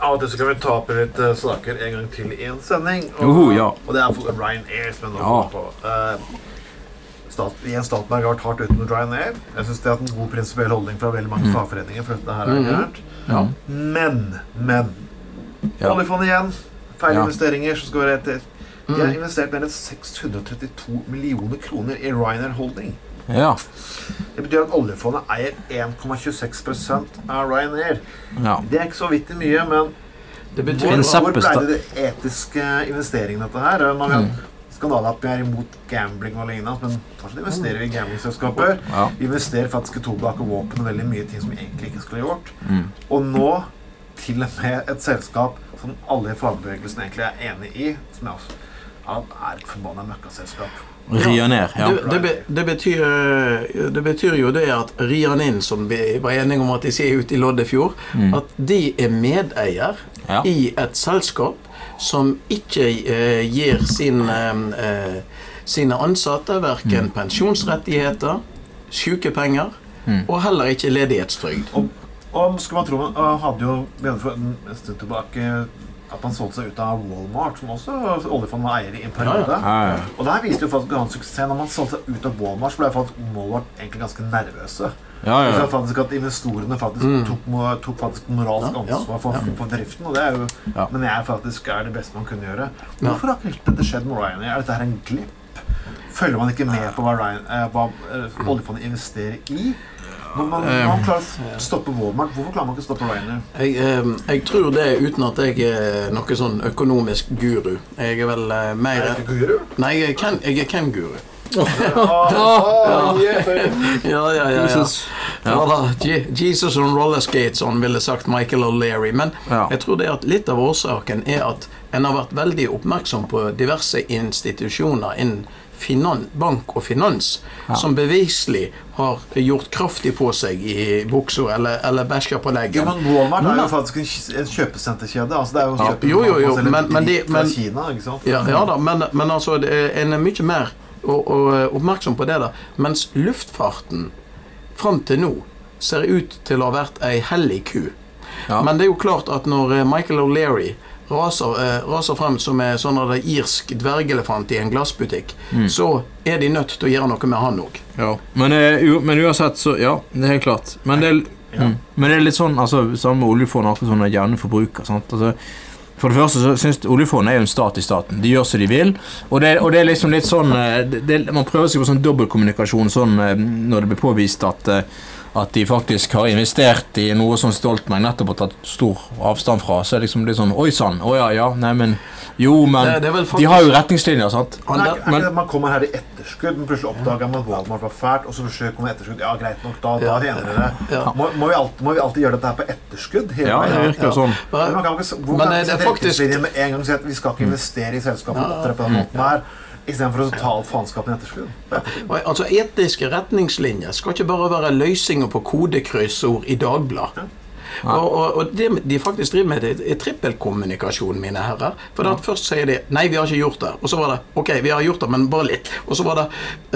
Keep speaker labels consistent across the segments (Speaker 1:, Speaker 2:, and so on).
Speaker 1: Av og til så kan vi ta opp i litt eh, saker en gang til i en sending. Og,
Speaker 2: Joho, ja.
Speaker 1: og det er for Ryanair som jeg nå
Speaker 2: Ja.
Speaker 1: kommer på. Eh, stat, I en Stoltenberg har vært hardt uten Ryanair. Jeg syns det har hatt en god prinsipiell holdning fra veldig
Speaker 2: Mhm.
Speaker 1: mange fagforeninger. For dette her er gærent.
Speaker 2: Ja.
Speaker 1: Men, men
Speaker 2: Ja.
Speaker 1: Oljefondet igjen. Feil
Speaker 2: Ja. Mhm.
Speaker 1: investeringer som skal gå rett til. De har investert mer enn 632 millioner kroner i Ryanair Holding.
Speaker 2: Ja.
Speaker 1: Det betyr at oljefondet eier 1,26 av Ryanair.
Speaker 2: ja.
Speaker 1: Det er ikke så vittig mye, men
Speaker 3: Det betyr
Speaker 1: hvor,
Speaker 2: en
Speaker 3: at
Speaker 2: sapp-
Speaker 1: hvor ble
Speaker 2: zappestad-
Speaker 1: det de etiske investeringene dette her? Man har
Speaker 2: Mm.
Speaker 1: skandaler at vi er imot gambling og lignende, men fortsatt investerer vi i gamblingselskaper.
Speaker 2: Ja.
Speaker 1: Vi investerer faktisk i tobakk og våpen og veldig mye ting som vi egentlig ikke skulle gjort.
Speaker 2: Mm.
Speaker 1: Og nå til og med et selskap som alle i fagbevegelsen egentlig er enig i, som jeg også at er et forbanna møkkaselskap.
Speaker 2: Ryanair. Ja.
Speaker 3: det, det, be- det, betyr, eh, det betyr jo det at Rianin, som vi var enige om at de sier ute i Loddefjord, at de er medeier
Speaker 2: Mm. Ja.
Speaker 3: i et selskap som ikke eh, gir sin, eh, eh, sine ansatte
Speaker 2: Mm.
Speaker 3: verken pensjonsrettigheter, sykepenger
Speaker 2: Mm.
Speaker 3: og heller ikke ledighetstrygd.
Speaker 1: Og, og skulle man tro man og hadde jo bedre for en stund tilbake at man solgte seg ut av Walmart, som også oljefondet var eier i en periode.
Speaker 2: Ja, ja.
Speaker 1: Og det her viste jo faktisk ganske suksess. Når man solgte seg ut av Walmart, så ble faktisk Walmart egentlig ganske nervøse.
Speaker 2: Ja, Mm.
Speaker 1: De
Speaker 2: ja.
Speaker 1: sa faktisk at investorene faktisk tok, mo- tok faktisk moralsk
Speaker 3: Ja, ja,
Speaker 1: ansvar for, for driften, og det er jo
Speaker 2: Ja.
Speaker 1: Men jeg faktisk er det beste man kunne gjøre. Hvorfor har ikke helt dette skjedd med Ryanair? Er dette her en glipp? Følger man ikke med på hva, Ryan, eh, hva eh, oljefondet investerer i? Når man, når man klarer å stoppe Walmart, hvorfor klarer man ikke å stoppe Ryanair?
Speaker 3: Jeg, eh, jeg tror det uten at jeg er noe sånn økonomisk guru. Jeg er vel eh, mer
Speaker 1: Er det ikke guru?
Speaker 3: Nei, jeg er Ken- jeg er Ken-guru.
Speaker 1: Ah, ah, yeah.
Speaker 3: Ja, ja, ja. ja.
Speaker 2: Jesus.
Speaker 3: ja da, Je- Jesus on roller skates, on ville sagt Michael O'Leary. Men
Speaker 2: Ja.
Speaker 3: jeg tror det at litt av årsaken er at en har vært veldig oppmerksom på diverse institusjoner innen finan bank og finans som beviselig har gjort kraftig på seg i buksa eller, eller bæsja på leggen.
Speaker 1: Jo, men Walmart er jo
Speaker 3: Men-
Speaker 1: faktisk en kj- en kjøpesenterkjede. Altså, det er jo
Speaker 3: Ja.
Speaker 1: kjøpe-
Speaker 3: Jo, jo, jo,
Speaker 1: og selge
Speaker 3: men- men
Speaker 1: drit
Speaker 3: de- men-
Speaker 1: fra Kina, ikke sant?
Speaker 3: Ja, ja da, men, men altså, det er- en er mye mer og, og, oppmerksom på det, da. Mens luftfarten fram til nå ser ut til å ha vært ei hellig ku.
Speaker 2: Ja.
Speaker 3: Men det er jo klart at når eh, Michael O'Leary raser, eh, raser frem som en sånn av det irsk dvergelefant i en glassbutikk, så er de nødt til å gjøre noe med han òg.
Speaker 2: Mm. Ja. Men, eh, u- men uansett, så Ja, det er helt klart. Men det er, mm. men det er litt sånn altså, Sammen med oljefondet, akkurat sånn at gjerne forbruker. Sant? Altså, for det første så syns oljefondet er jo en stat i staten. De gjør som de vil. Og det, og det er liksom litt sånn eh, det, det- Man prøver seg på sånn dobbeltkommunikasjon sånn, eh, når det blir påvist at eh, at de faktisk har investert i noe som Stoltenberg nettopp har tatt stor avstand fra. Så er det liksom litt sånn Oi sann. Å ja, ja. Nei, men Jo, men
Speaker 3: Det- det er vel
Speaker 2: De har
Speaker 3: faktisk-
Speaker 2: jo retningslinjer, sant?
Speaker 1: Men
Speaker 3: Han
Speaker 1: er,
Speaker 3: der,
Speaker 1: ikke- er ikke det at man kommer her i etterskudd, men plutselig oppdager man at Walmart var fælt, og så forsøker man i etterskudd. Ja, greit nok, da, da tjener dere det.
Speaker 3: Ja.
Speaker 1: Må, må, vi alltid, må vi alltid gjøre dette her på etterskudd? hele
Speaker 2: Ja, det
Speaker 1: veien?
Speaker 2: virker jo sånn.
Speaker 1: Men man kan ikke, s- hvor
Speaker 3: Men
Speaker 1: kan
Speaker 3: det-
Speaker 1: vi
Speaker 3: det er
Speaker 1: sette
Speaker 3: faktisk- Mm.
Speaker 1: retningslinjer med en gang og si at vi skal ikke investere i selskapet og opptre på den måten her, istedenfor å ta opp faenskapen i etterskudd?
Speaker 3: Og, Altså Etiske retningslinjer skal ikke bare være løsninger på kodekryssord i Dagbladet. Og, og, og det de faktisk driver med, det er trippelkommunikasjon, mine herrer. For det at først sier de 'nei, vi har ikke gjort det', og så var det 'ok, vi har gjort det, men bare litt'. Og så var det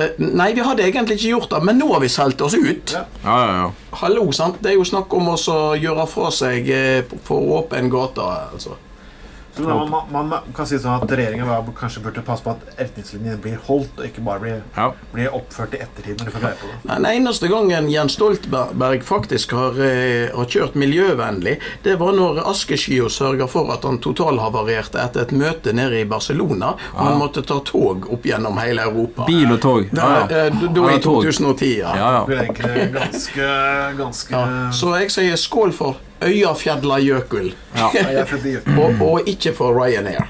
Speaker 3: eh, 'nei, vi hadde egentlig ikke gjort det, men nå har vi solgt oss ut'.
Speaker 1: Ja.
Speaker 2: Ja, ja, ja.
Speaker 3: Hallo, sant. Det er jo snakk om også å gjøre fra seg eh, på- på åpen gate, altså.
Speaker 1: Så man, man, man kan si sånn at regjeringen var- kanskje burde passe på at retningslinjene blir holdt, og ikke bare blir,
Speaker 2: ja.
Speaker 1: blir oppført i ettertid når de får greie på det.
Speaker 3: Den eneste gangen Jens Stoltenberg faktisk har, eh, har kjørt miljøvennlig, det var når Askeskio sørga for at han totalhavarerte etter et møte nede i Barcelona, og han måtte ta tog opp gjennom hele Europa.
Speaker 2: Bil og tog. Ja,
Speaker 3: Da,
Speaker 2: ja.
Speaker 3: eh, da
Speaker 2: Ja,
Speaker 3: i
Speaker 2: tog.
Speaker 3: 2010,
Speaker 2: Ja, ja.
Speaker 1: Det blir egentlig ganske, ganske
Speaker 3: Ja, Så jeg sier skål for Øyafjella Jøkul,
Speaker 1: Nei, jeg er født i Jøten.
Speaker 3: og, og ikke for Ryanair.